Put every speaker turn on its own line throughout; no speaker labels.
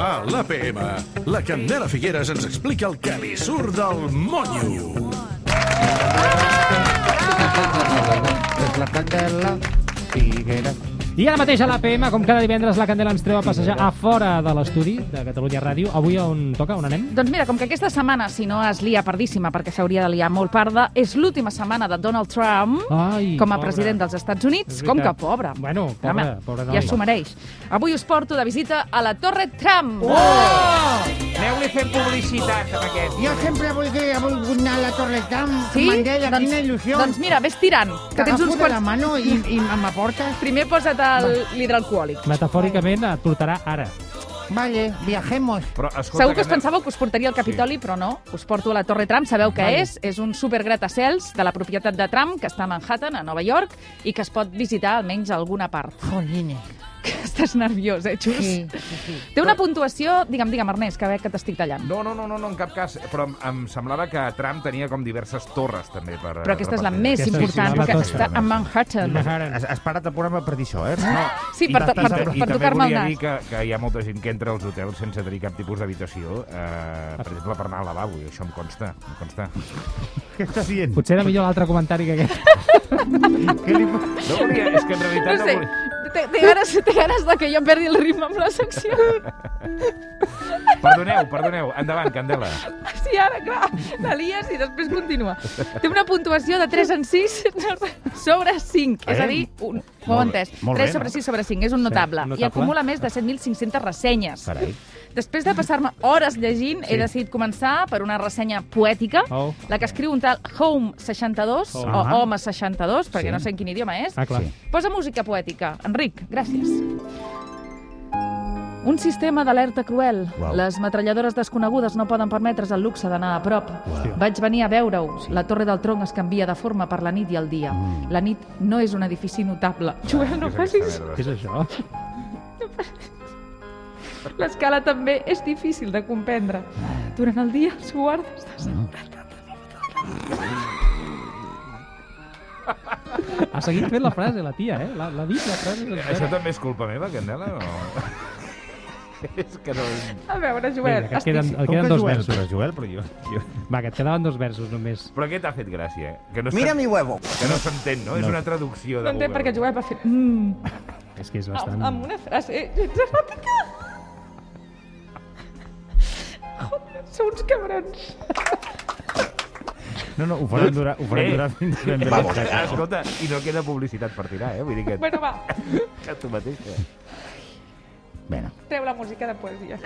A l'APM, la Candela Figueres ens explica el que li surt del monyo.
És la candela, figuera.
I ara mateix a l'APM, com cada divendres, la Candela ens treu a passejar a fora de l'estudi de Catalunya Ràdio. Avui on toca? On anem?
Doncs mira, com que aquesta setmana, si no es lia pardíssima, perquè s'hauria de liar molt parda, és l'última setmana de Donald Trump
Ai,
com a
pobre.
president dels Estats
És
Units. Com que
veritat.
pobre?
Bueno, pobre, pobre noi.
Ja s'ho mereix. Avui us porto de visita a la Torre Trump.
Oh!
Aneu-li fent publicitat amb aquest.
Jo sempre volia, he volgut anar a la Torre Tam,
Sí?
Mandela, quina il·lusió.
doncs mira, ves tirant, que tens uns
T'agafo de la
quants...
mano i, i m'aportes?
Primer posa't el- l'hidroalcohòlic.
Metafòricament et portarà ara.
Vale, viajemos.
Però, escolta,
Segur que us pensàveu que us portaria al Capitoli, però no. Us porto a la Torre Trump, sabeu què és? És un supergratacels de la propietat de Trump, que està a Manhattan, a Nova York, i que es pot visitar almenys alguna part.
Jolines.
Que estàs nerviós, eh, Xus?
Sí, sí, sí.
Té una puntuació... Digue'm, digue'm, Ernest, que veig que t'estic tallant.
No, no, no, no, no, en cap cas. Però em- em semblava que Trump tenia com diverses torres, també, per...
Però aquesta és la
repartir.
més
Aquesta és
important,
la
que
tocha.
està a Manhattan.
Ara.
Has, has parat el programa per dir això, eh? No.
Sí, per, per, per,
I
per
també
tocar-me el
volia dir
nas.
que, que hi ha molta gent que entra als hotels sense tenir cap tipus d'habitació, eh, per exemple, per anar al lavabo, i això em consta, em consta.
Què estàs dient?
Potser era millor l'altre comentari que aquest.
Què li...
No, perquè és que en
No
realitat
sé,
volia...
té, té, ganes, té ganes de que jo em perdi el ritme amb la secció.
Perdoneu, perdoneu. Endavant, Candela.
Sí, ara, clar, la lies i després continua. Té una puntuació de 3 en 6 sobre 5, és a dir, un, ho heu
Eh? Molt bé,
entès,
molt
3
bé,
sobre
no?
6 sobre 5, és un notable,
notable.
i acumula més de 7.500 ressenyes.
Carai.
Després de passar-me hores llegint, he decidit començar per una ressenya poètica,
Oh.
la que escriu un tal Home62,
Oh.
o Home62, perquè no sé en quin idioma és.
Ah, clar.
Posa música poètica. Enric, gràcies. Un sistema d'alerta cruel.
Uau.
Les metralladores desconegudes no poden permetre's el luxe d'anar a prop. Vaig venir a veure-ho. La torre del tronc es canvia de forma per la nit i el dia.
Mm.
La nit no és un edifici notable. Joel, no
Què és
facis...
aquesta merda?
Què és això?
L'escala també és difícil de comprendre. Durant el dia els guardes de seguretat...
Ha seguit fent la frase, la tia, eh? L'ha l'ha dit, la frase.
Això
sencera.
també és culpa meva, Candela? O... és que no...
A veure, Joel,
Vinga, que et queden, et
Com que
queden dos
Joel,
versos.
però Joel, però jo... jo...
Va, que et quedaven dos versos només.
Però què t'ha fet gràcia? Que no
Mira
s'en-
mi huevo.
Que no s'entén, no? És una traducció de
No entenc
Google.
perquè Joel va fer... Mm,
És que és
amb,
bastant...
amb una frase eh, gens eròtica. Joder, sou uns cabrons.
No, no, ho faran durar, ho
Eh.
faran durar fins ben bé.
Vamos. Escolta, i no queda publicitat per tirar, eh? Vull dir que,
Bueno, va,
que tu mateix... Que...
Bueno,
treu la música de poesia.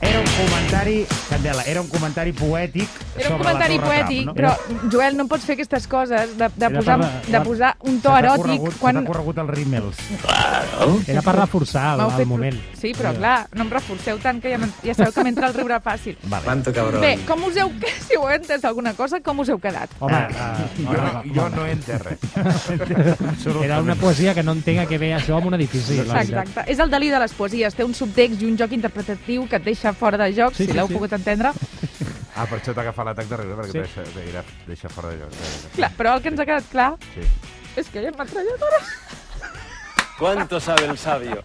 era un comentari, Candela, era un comentari poètic
Era un
sobre
comentari
la Torre
poètic,
Trump, no?
però, Joel, no em pots fer aquestes coses de, de,
Era
posar,
per la-
de posar un to
Se t'ha
eròtic
corregut-
quan...
Se t'ha corregut els rímels.
Era per reforçar el,
M'heu
el moment.
Sí, però clar, no em reforceu tant que ja, men- ja sabeu que m'entra el riure fàcil.
Quanto cabrón.
Bé, com us heu... Si heu entès alguna cosa, com us heu quedat?
Home,
Ah.
Jo, no, jo no he entès res.
eh, era una poesia que no entenc a què ve això amb un edifici. la veritat.
Exacte. És el delí de les poesies. Té un subtext i un joc interpretatiu que et deixa fora de joc,
Sí,
si
sí,
l'heu
sí.
pogut entendre.
Ah, per això t'ha agafat l'atac de riure, perquè
Sí.
sí. deixa, t'he deixat- deixa fora de joc.
Clar, però el que ens ha quedat clar
Sí.
és que hi ha metralladores.
¿Cuánto sabe el sabio?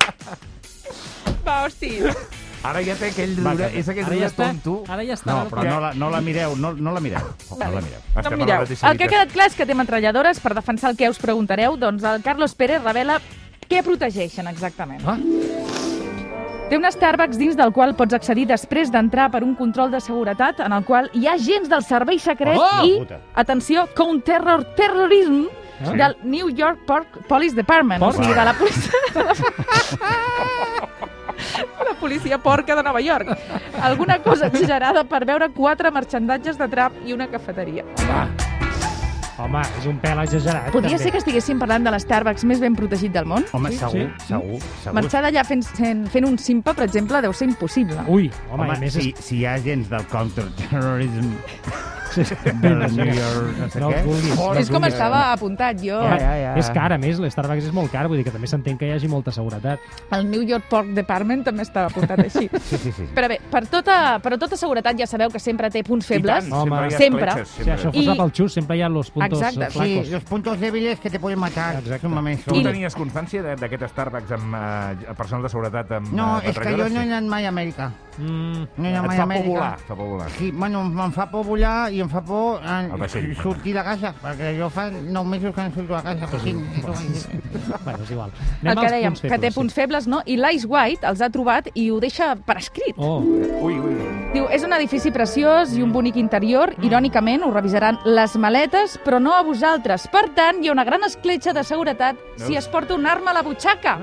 Va, hosti.
Ara ja té aquell
Va,
riure,
que-
és aquell
Ara ja
riure
està.
tonto.
Ara ja està.
No, però no la, no la mireu, no, no la mireu. No la mireu.
No
Estem a la
mireu.
mateixa
El que ha
habitació.
quedat clar és que té metralladores per defensar el que us preguntareu. Doncs el Carlos Pérez revela què protegeixen exactament.
Ah.
Té un Starbucks dins del qual pots accedir després d'entrar per un control de seguretat en el qual hi ha agents del servei secret
Oh!
i,
Puta.
atenció, counter-terror terrorism
Ah.
del New York Park Police Department,
Porc?
o sigui, de la policia... De la... la policia porca de Nova York. Alguna cosa exagerada per veure quatre marxandatges de trap i una cafeteria.
Home, és un pèl exagerat.
Podria
també.
ser que estiguéssim parlant de l'Starbucks més ben protegit del món?
Home,
Sí,
segur,
sí.
segur, segur.
Marxar d'allà fent, fent, fent un simpa, per exemple, deu ser impossible.
Ui, home,
Home,
a més...
si, si hi ha gens del counterterrorism del New York, no sé
No
què.
et vulguis.
Ford,
És com
New
estava
York.
apuntat jo.
Ja, ja, ja.
És car, a més, l'Starbucks és molt car, vull dir que també s'entén que hi hagi molta seguretat.
El New York Pork Department també estava apuntat així.
Sí, sí, sí.
Però bé, per tota, per tota seguretat ja sabeu que sempre té punts febles.
I tant, sempre. hi ha
Sempre.
escletxes,
Si això
sempre.
fos
I-
I... pel xus, sempre hi ha los puntos
Exacte,
eh,
Sí,
flacos.
los puntos débiles que te pueden matar.
Exacte.
Sumamente.
Tu tenies constància de- d'aquest Starbucks amb eh, personal de seguretat amb
No, és
eh,
que jo
metralladores?
no he anat mai a Amèrica.
Mm,
No he anat mai a
Et fa por
Amèrica.
volar, et fa por volar.
Sí, bueno, em fa por volar i em fa por
El
eh,
vaixell.
sortir de casa, perquè jo fa 9 mesos que no surto de casa. Però sí,
bueno, és igual. Anem
El que
als
dèiem,
punts
que té
febles,
punts febles, no? I l'Ice White els ha trobat i ho deixa per
Sí.
escrit.
Oh,
Ui, ui, ui.
Diu, és un edifici preciós i un bonic interior.
Mm.
Irònicament, ho revisaran les maletes, però no a vosaltres. Per tant, hi ha una gran escletxa de seguretat si es porta una arma a la butxaca.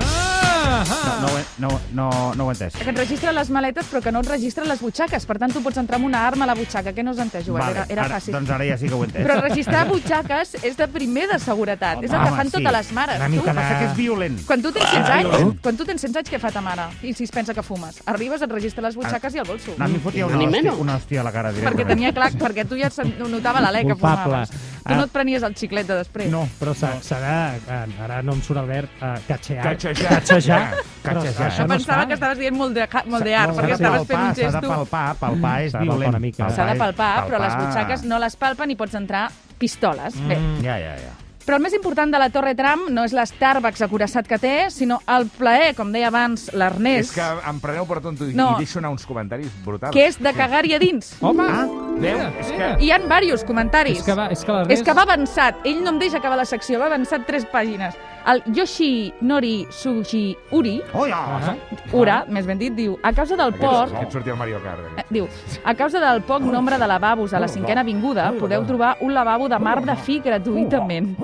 No, ho he- no, no, no ho he entès.
Que et registra les maletes, però que no et registra les butxaques. Per tant, tu pots entrar amb una arma a la butxaca. Què no us entès, Joel? Era, era
ara,
fàcil.
Doncs ara ja sí que ho he entès.
Però registrar butxaques és de primer de seguretat. és el que
Home,
fan
sí.
totes les mares.
Una
Tu,
mica de... Ah, que és violent.
Quan tu tens 16 anys, quan tu tens 16 anys, què fa ta mare? I si es pensa que fumes? Arribes, et registra les butxaques i el bolso.
Ah. No, a mi em fotia una, hòstia,
Ah,
una hòstia a la cara
Perquè
directament.
tenia clar, perquè tu ja sen- notava l'alè que
Culpable. Ah.
fumaves. Tu no et prenies el xiclet de després.
No,
però s'ha s'ha de... eh, Ara no em surt el verb eh, catxear.
Catxejar.
Catxejar. Però
Catxejar.
això
Jo
eh, no es
pensava
fa.
que estaves dient molt de, molt de art,
no,
perquè
s'ha de
estaves fent un
S'ha de
gesto.
palpar, palpar és
S'ha de palpar
violent.
una mica.
S'ha de
és-
palpar, però les butxaques no les palpen i pots entrar pistoles. Bé,
Mm.
Ja, ja, ja.
Però el més important de la Torre Trump no és l'Starbucks acuraçat que té, sinó el plaer, com deia abans l'Ernest,
És que em preneu per tonto i,
No.
i deixo anar uns comentaris brutals.
que és de cagar-hi a dins.
Home! Ah,
Déu, és que...
Hi han diversos comentaris.
És que va, és que la
És que va avançat. Ell no em deixa acabar la secció, va avançat tres pàgines. El Yoshi Nori Sushi Uri,
Hola!
Ura, més ben dit, diu, a causa del
Aquest,
porc,
aquest sortia el Mario Kart.
Eh,
Aquest.
Diu, a causa del poc nombre de lavabos a la cinquena avinguda, podeu trobar un lavabo de mar de fi
Oh,
gratuïtament.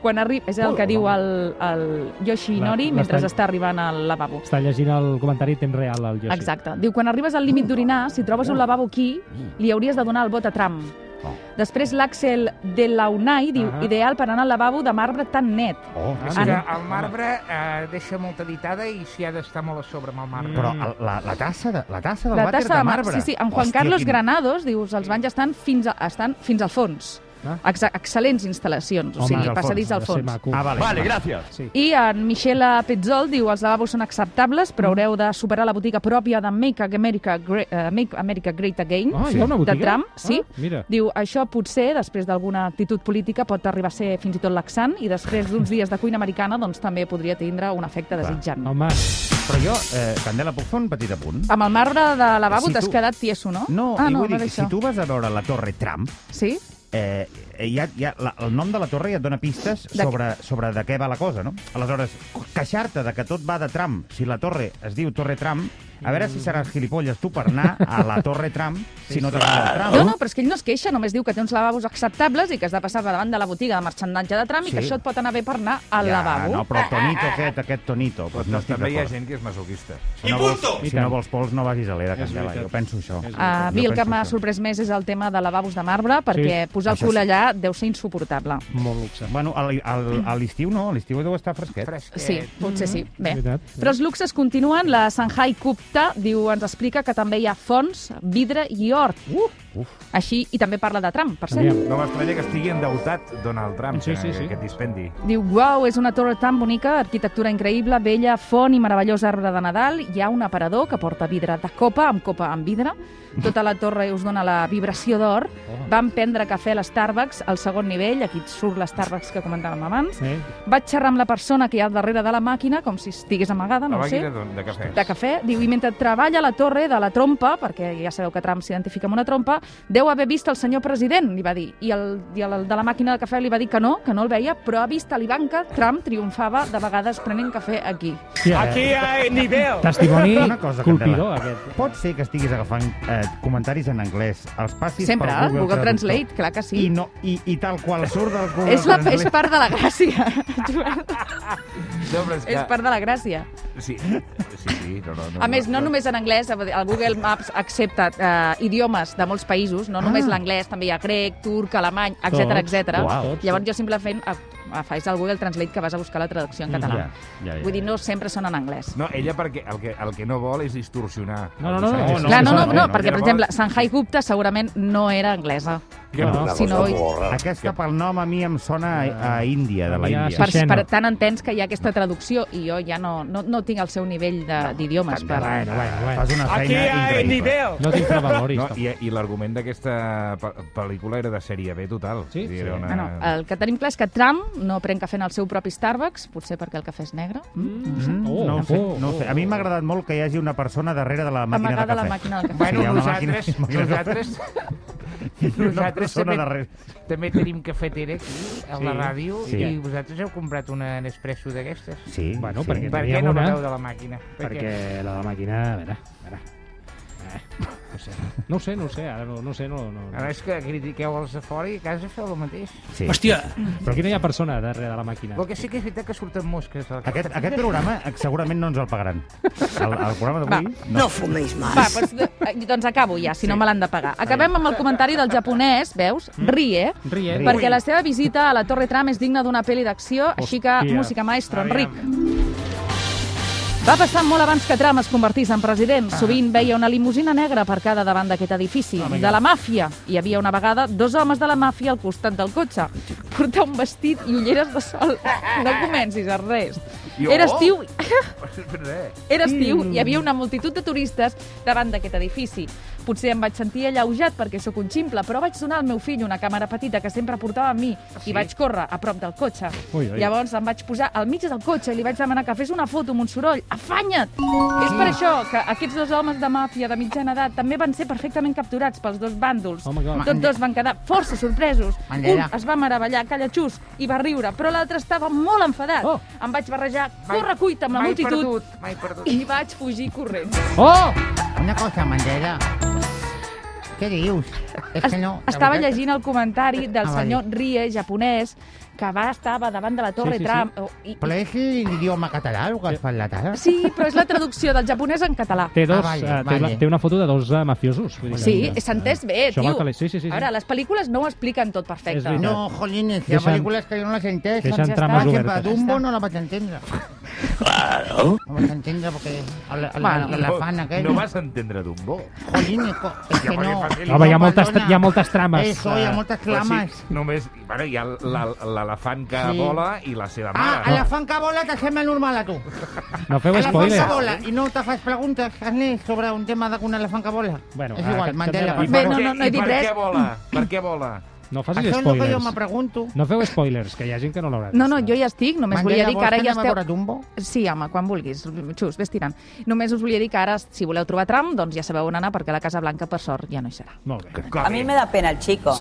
Quan arriba... És el que diu el, el Yoshi Nori
La-
mentre
l'estany-
està arribant al lavabo.
Està llegint el comentari temps real, el Yoshi.
Exacte. Diu, quan arribes al límit d'orinar, si trobes un lavabo aquí, li hauries de donar el vot a tram. Després l'Axel de Launay diu,
Ah.
ideal per anar al lavabo de marbre tan net.
Oh,
És
Ah,
que
no.
el marbre eh, deixa molta ditada i s'hi ha d'estar molt a sobre amb el marbre.
però el- la, la tassa, de, la tassa del
La
vàter
tassa de
de
mar,
marbre.
sí, sí. En Juan
Hòstia,
Carlos
quin-
Granados diu, els banys estan fins, a, estan fins al fons.
Ah.
Ex excel·lents instal·lacions, o
Home,
al
sigui,
fons,
passadís al
Ha de ser
fons.
maco.
Ah, vale.
Vale, gracias.
I en Michela Petzol diu els lavabos són acceptables,
Mm.
però haureu de superar la botiga pròpia de Make America, Gre eh, Make America Great Again,
Ah, hi ha una botiga?
de Trump. Sí.
Ah, mira.
Diu, això potser, després d'alguna actitud política, pot arribar a ser fins i tot laxant, i després d'uns dies de cuina americana, doncs també podria tindre un efecte desitjant.
Home,
Però jo, eh, Candela, puc fer un petit apunt?
Amb el marbre de lavabo
Si
t'has
tu-
quedat tieso, no?
No,
ah,
i
no,
vull
no
dir, si
d'això.
tu vas a veure la Torre Trump,
Sí?
eh, eh, ja, ja, la, el nom de la torre ja et dona pistes
De-
sobre, sobre de què va la cosa, no? Aleshores, queixar-te de que tot va de tram, si la torre es diu Torre Tram, a veure si seràs gilipolles tu per anar a la Torre Tram si no t'agrada el tram.
No, no, però és que ell no es queixa, només diu que té uns lavabos acceptables i que has de passar davant de la botiga de marxandatge de tram i
Sí.
que això et pot anar bé per anar al
ja,
lavabo.
No, però el tonito aquest, aquest tonito,
Però
pues no estic
Doncs també hi ha
d'acord.
gent que és masoquista.
Si no vols, si
tant.
no vols pols, no vagis a l'era,
És
Candela.
veritat.
Jo penso això.
És
Jo
A mi Ah, el que
penso
m'ha
això.
sorprès més és el tema de lavabos de marbre, perquè posar el
Això
cul
sí.
allà deu ser insuportable.
molt luxe.
Bueno, a l- al- a l'estiu no, a l'estiu deu estar fresquet.
Sí, potser sí. Bé.
Eh, mm, veritat.
Però els luxes continuen. La Sanjai Gupta diu, ens explica que també hi ha fons, vidre i hort. Així, i també parla de tram, per cert.
Aviam.
No m'estranya que estigui endeutat Donald Trump,
Sí,
sí,
sí,
sí,
sí.
que et dispendi.
Diu, uau, és una torre tan bonica, arquitectura increïble, vella, font i meravellós arbre de Nadal. Hi ha un aparador que porta vidre de copa, amb copa amb vidre. Tota la torre us dona la vibració d'or.
Oh.
Vam prendre cafè a l'Starbucks, al segon nivell, aquí et surt l'Starbucks que comentàvem abans.
Eh?
Vaig xerrar amb la persona que hi ha darrere de la màquina, com si estigués amagada,
La
no ho sé
màquina de, de cafè.
de cafè, diu, i mentre treballa a la torre de la trompa, perquè ja sabeu que Trump s'identifica amb una trompa, deu haver vist el senyor president, li va dir. I el, i el de la màquina de cafè li va dir que no, que no el veia, però ha vist a l'Ivan que Trump triomfava de vegades prenent cafè aquí.
Aquí hi ha nivell. Testimoni
Una cosa,
colpidor,
Candela.
aquest.
Pot ser que estiguis agafant eh, comentaris en anglès, els passis
Sempre, eh?
pel Google,
Google
Traductor,
Translate, clar que sí.
I, no, i, I tal qual surt del Google
És, la, és
Translate.
part de la gràcia, Joel.
No, però és
És part de la gràcia.
Sí, sí, sí. No, no, no,
A més, no només en anglès, el Google Maps accepta eh, idiomes de molts països, no només l'anglès, també hi ha grec, turc, alemany, etc
Tots.
etc.
Uau. Tots,
Llavors jo simplement faig el Google Translate que vas a buscar la traducció en català.
Ja, ja, ja,
Vull dir, no sempre són en anglès.
No, ella perquè el que, el que no vol és distorsionar.
No, no, no, no.
el missatge.
No,
Clar, no, no,
no,
no,
El
perquè,
que
per
vol
exemple, Sanjay Gupta segurament no era anglesa.
Que no.
Bueno,
Si no,
Aquesta pel nom a mi em sona a, a Índia, de la
Ja,
Índia.
per,
Xena.
per tant entens que hi ha aquesta traducció i jo ja no, no, no tinc el seu nivell de- d'idiomes. Per...
Bueno, bueno, bueno.
Fas una feina increïble.
Ah, No t'infravaloris.
No,
No,
I, i l'argument d'aquesta pe- pel·lícula era de sèrie B total.
Sí,
Vull
sí.
dir, Era una...
Bueno, el que tenim clar és que Trump no pren cafè en el seu propi Starbucks, potser perquè el cafè és negre. Mm.
Mm,
Oh,
no ho sé,
oh,
no ho sé. A mi m'ha agradat molt que hi hagi una persona darrere de la màquina
Amagada
de
la
cafè.
màquina del cafè.
Bueno,
Bueno,
hi ha una màquina-
nosaltres,
màquina de
nosaltres, nosaltres
persona
també,
darrere.
També tenim cafetera aquí, a la
Sí,
ràdio,
sí.
i vosaltres heu comprat una Nespresso d'aquestes.
Sí,
Bueno,
sí.
perquè-
Per
Teníem
què no
una.
parleu de la màquina? Per què?
Perquè la de la màquina... A veure, a veure. No sé, no ho sé, no ho sé, ara no, no ho sé, no, no.
A més que critiqueu els de fora i a casa feu el mateix.
Sí.
Però aquí no hi ha persona darrere de la màquina.
Oh,
El que sí que és veritat que surten mosques. eh? Al
Aquest, aquest programa eh, segurament no ens el pagaran. El, el programa d'avui... No.
Va, doncs, eh, doncs acabo ja, si no me l'han de pagar. Acabem amb el comentari del japonès, veus? Rie,
Rie.
perquè la seva visita a la Torre Tram és digna d'una pel·li d'acció, així que
Hòstia.
música maestro, Enric. Va passar molt abans que Trump es convertís en president. Sovint veia una limusina negra aparcada davant d'aquest edifici, de la màfia. Hi havia una vegada dos homes de la màfia al costat del cotxe. Portar un vestit i ulleres de sol. No comencis a res. Era estiu era estiu i hi havia una multitud de turistes davant d'aquest edifici. Potser em vaig sentir alleujat perquè sóc un ximple, però vaig donar al meu fill una càmera petita que sempre portava amb mi i vaig córrer a prop del cotxe.
Ui, ui.
Llavors em vaig posar al mig del cotxe i li vaig demanar que fes una foto amb un soroll. Afanya't! És per això que aquests dos homes de màfia de mitjana edat també van ser perfectament capturats pels dos bàndols.
Oh my God.
Tots dos van quedar força sorpresos.
Manllera.
Un es va meravellar, calla xus, i va riure, però l'altre estava molt enfadat.
Oh.
Em vaig barrejar, corre cuita amb la
mai
multitud
Perdut, mai perdut.
i vaig fugir corrents.
Oh!
Una cosa, Mandela. Què dius? És que no...
Estava
la veritat-
llegint el comentari del
Ah, vale.
senyor Rie, japonès, que va estava davant de la
Sí,
Torre
sí, sí.
Trump. Oh, i,
Però és l'idioma català el que has parlat ara?
sí, però és la traducció del japonès en català.
Té, dos,
Ah,
ah,
vale,
té,
vale.
la- té una foto de dos uh, mafiosos. Vull dir que-
Sí, s'ha entès bé,
Això
tio.
va caler. Sí, sí, sí, sí.
A veure, les pel·lícules no ho expliquen tot
És
perfecte.
veritat.
No, jolines, hi ha
Deixa'm-
pel·lícules que jo no les entenc.
deixa'm
Doncs
trames
està. Per
obertes.
exemple, Dumbo no la vaig entendre. No vaig entendre perquè a la, a la,
Bueno,
a la fan aquell...
No vas entendre Dumbo.
Jolines, co- és que no...
Home, hi ha moltes,
perdona.
hi ha moltes trames.
Eso, hi ha moltes clames.
Pues Sí, només, bueno, hi ha l'el- l'elefant que
Sí.
vola i la seva
Ah,
mare.
a la fan que vola que sembla normal a tu.
No
Elefant
feu
que
spoilers.
vola i no te fas preguntes, Ernest, sobre un tema d'algun elefant que vola.
Bueno,
és
ah,
igual,
que-
Mandela.
que-
I
per
Bé,
per
no,
què-
no, no he
i
dit
per
res.
què vola? Per què vola?
No
favor.
facis
Això és el que jo me
spoilers.
pregunto.
No feu spoilers, que hi ha gent que no l'haurà vist.
No, no, jo hi estic, només volia dir que ara
este
ja esteu...
Dumbo?
Sí, home, quan vulguis. Xus, vés tirant. Només us volia dir que ara, si voleu trobar Trump, doncs ja sabeu on anar, perquè la Casa Blanca, per sort, ja no hi serà.
Molt bé.
A mi
me da pena el chico.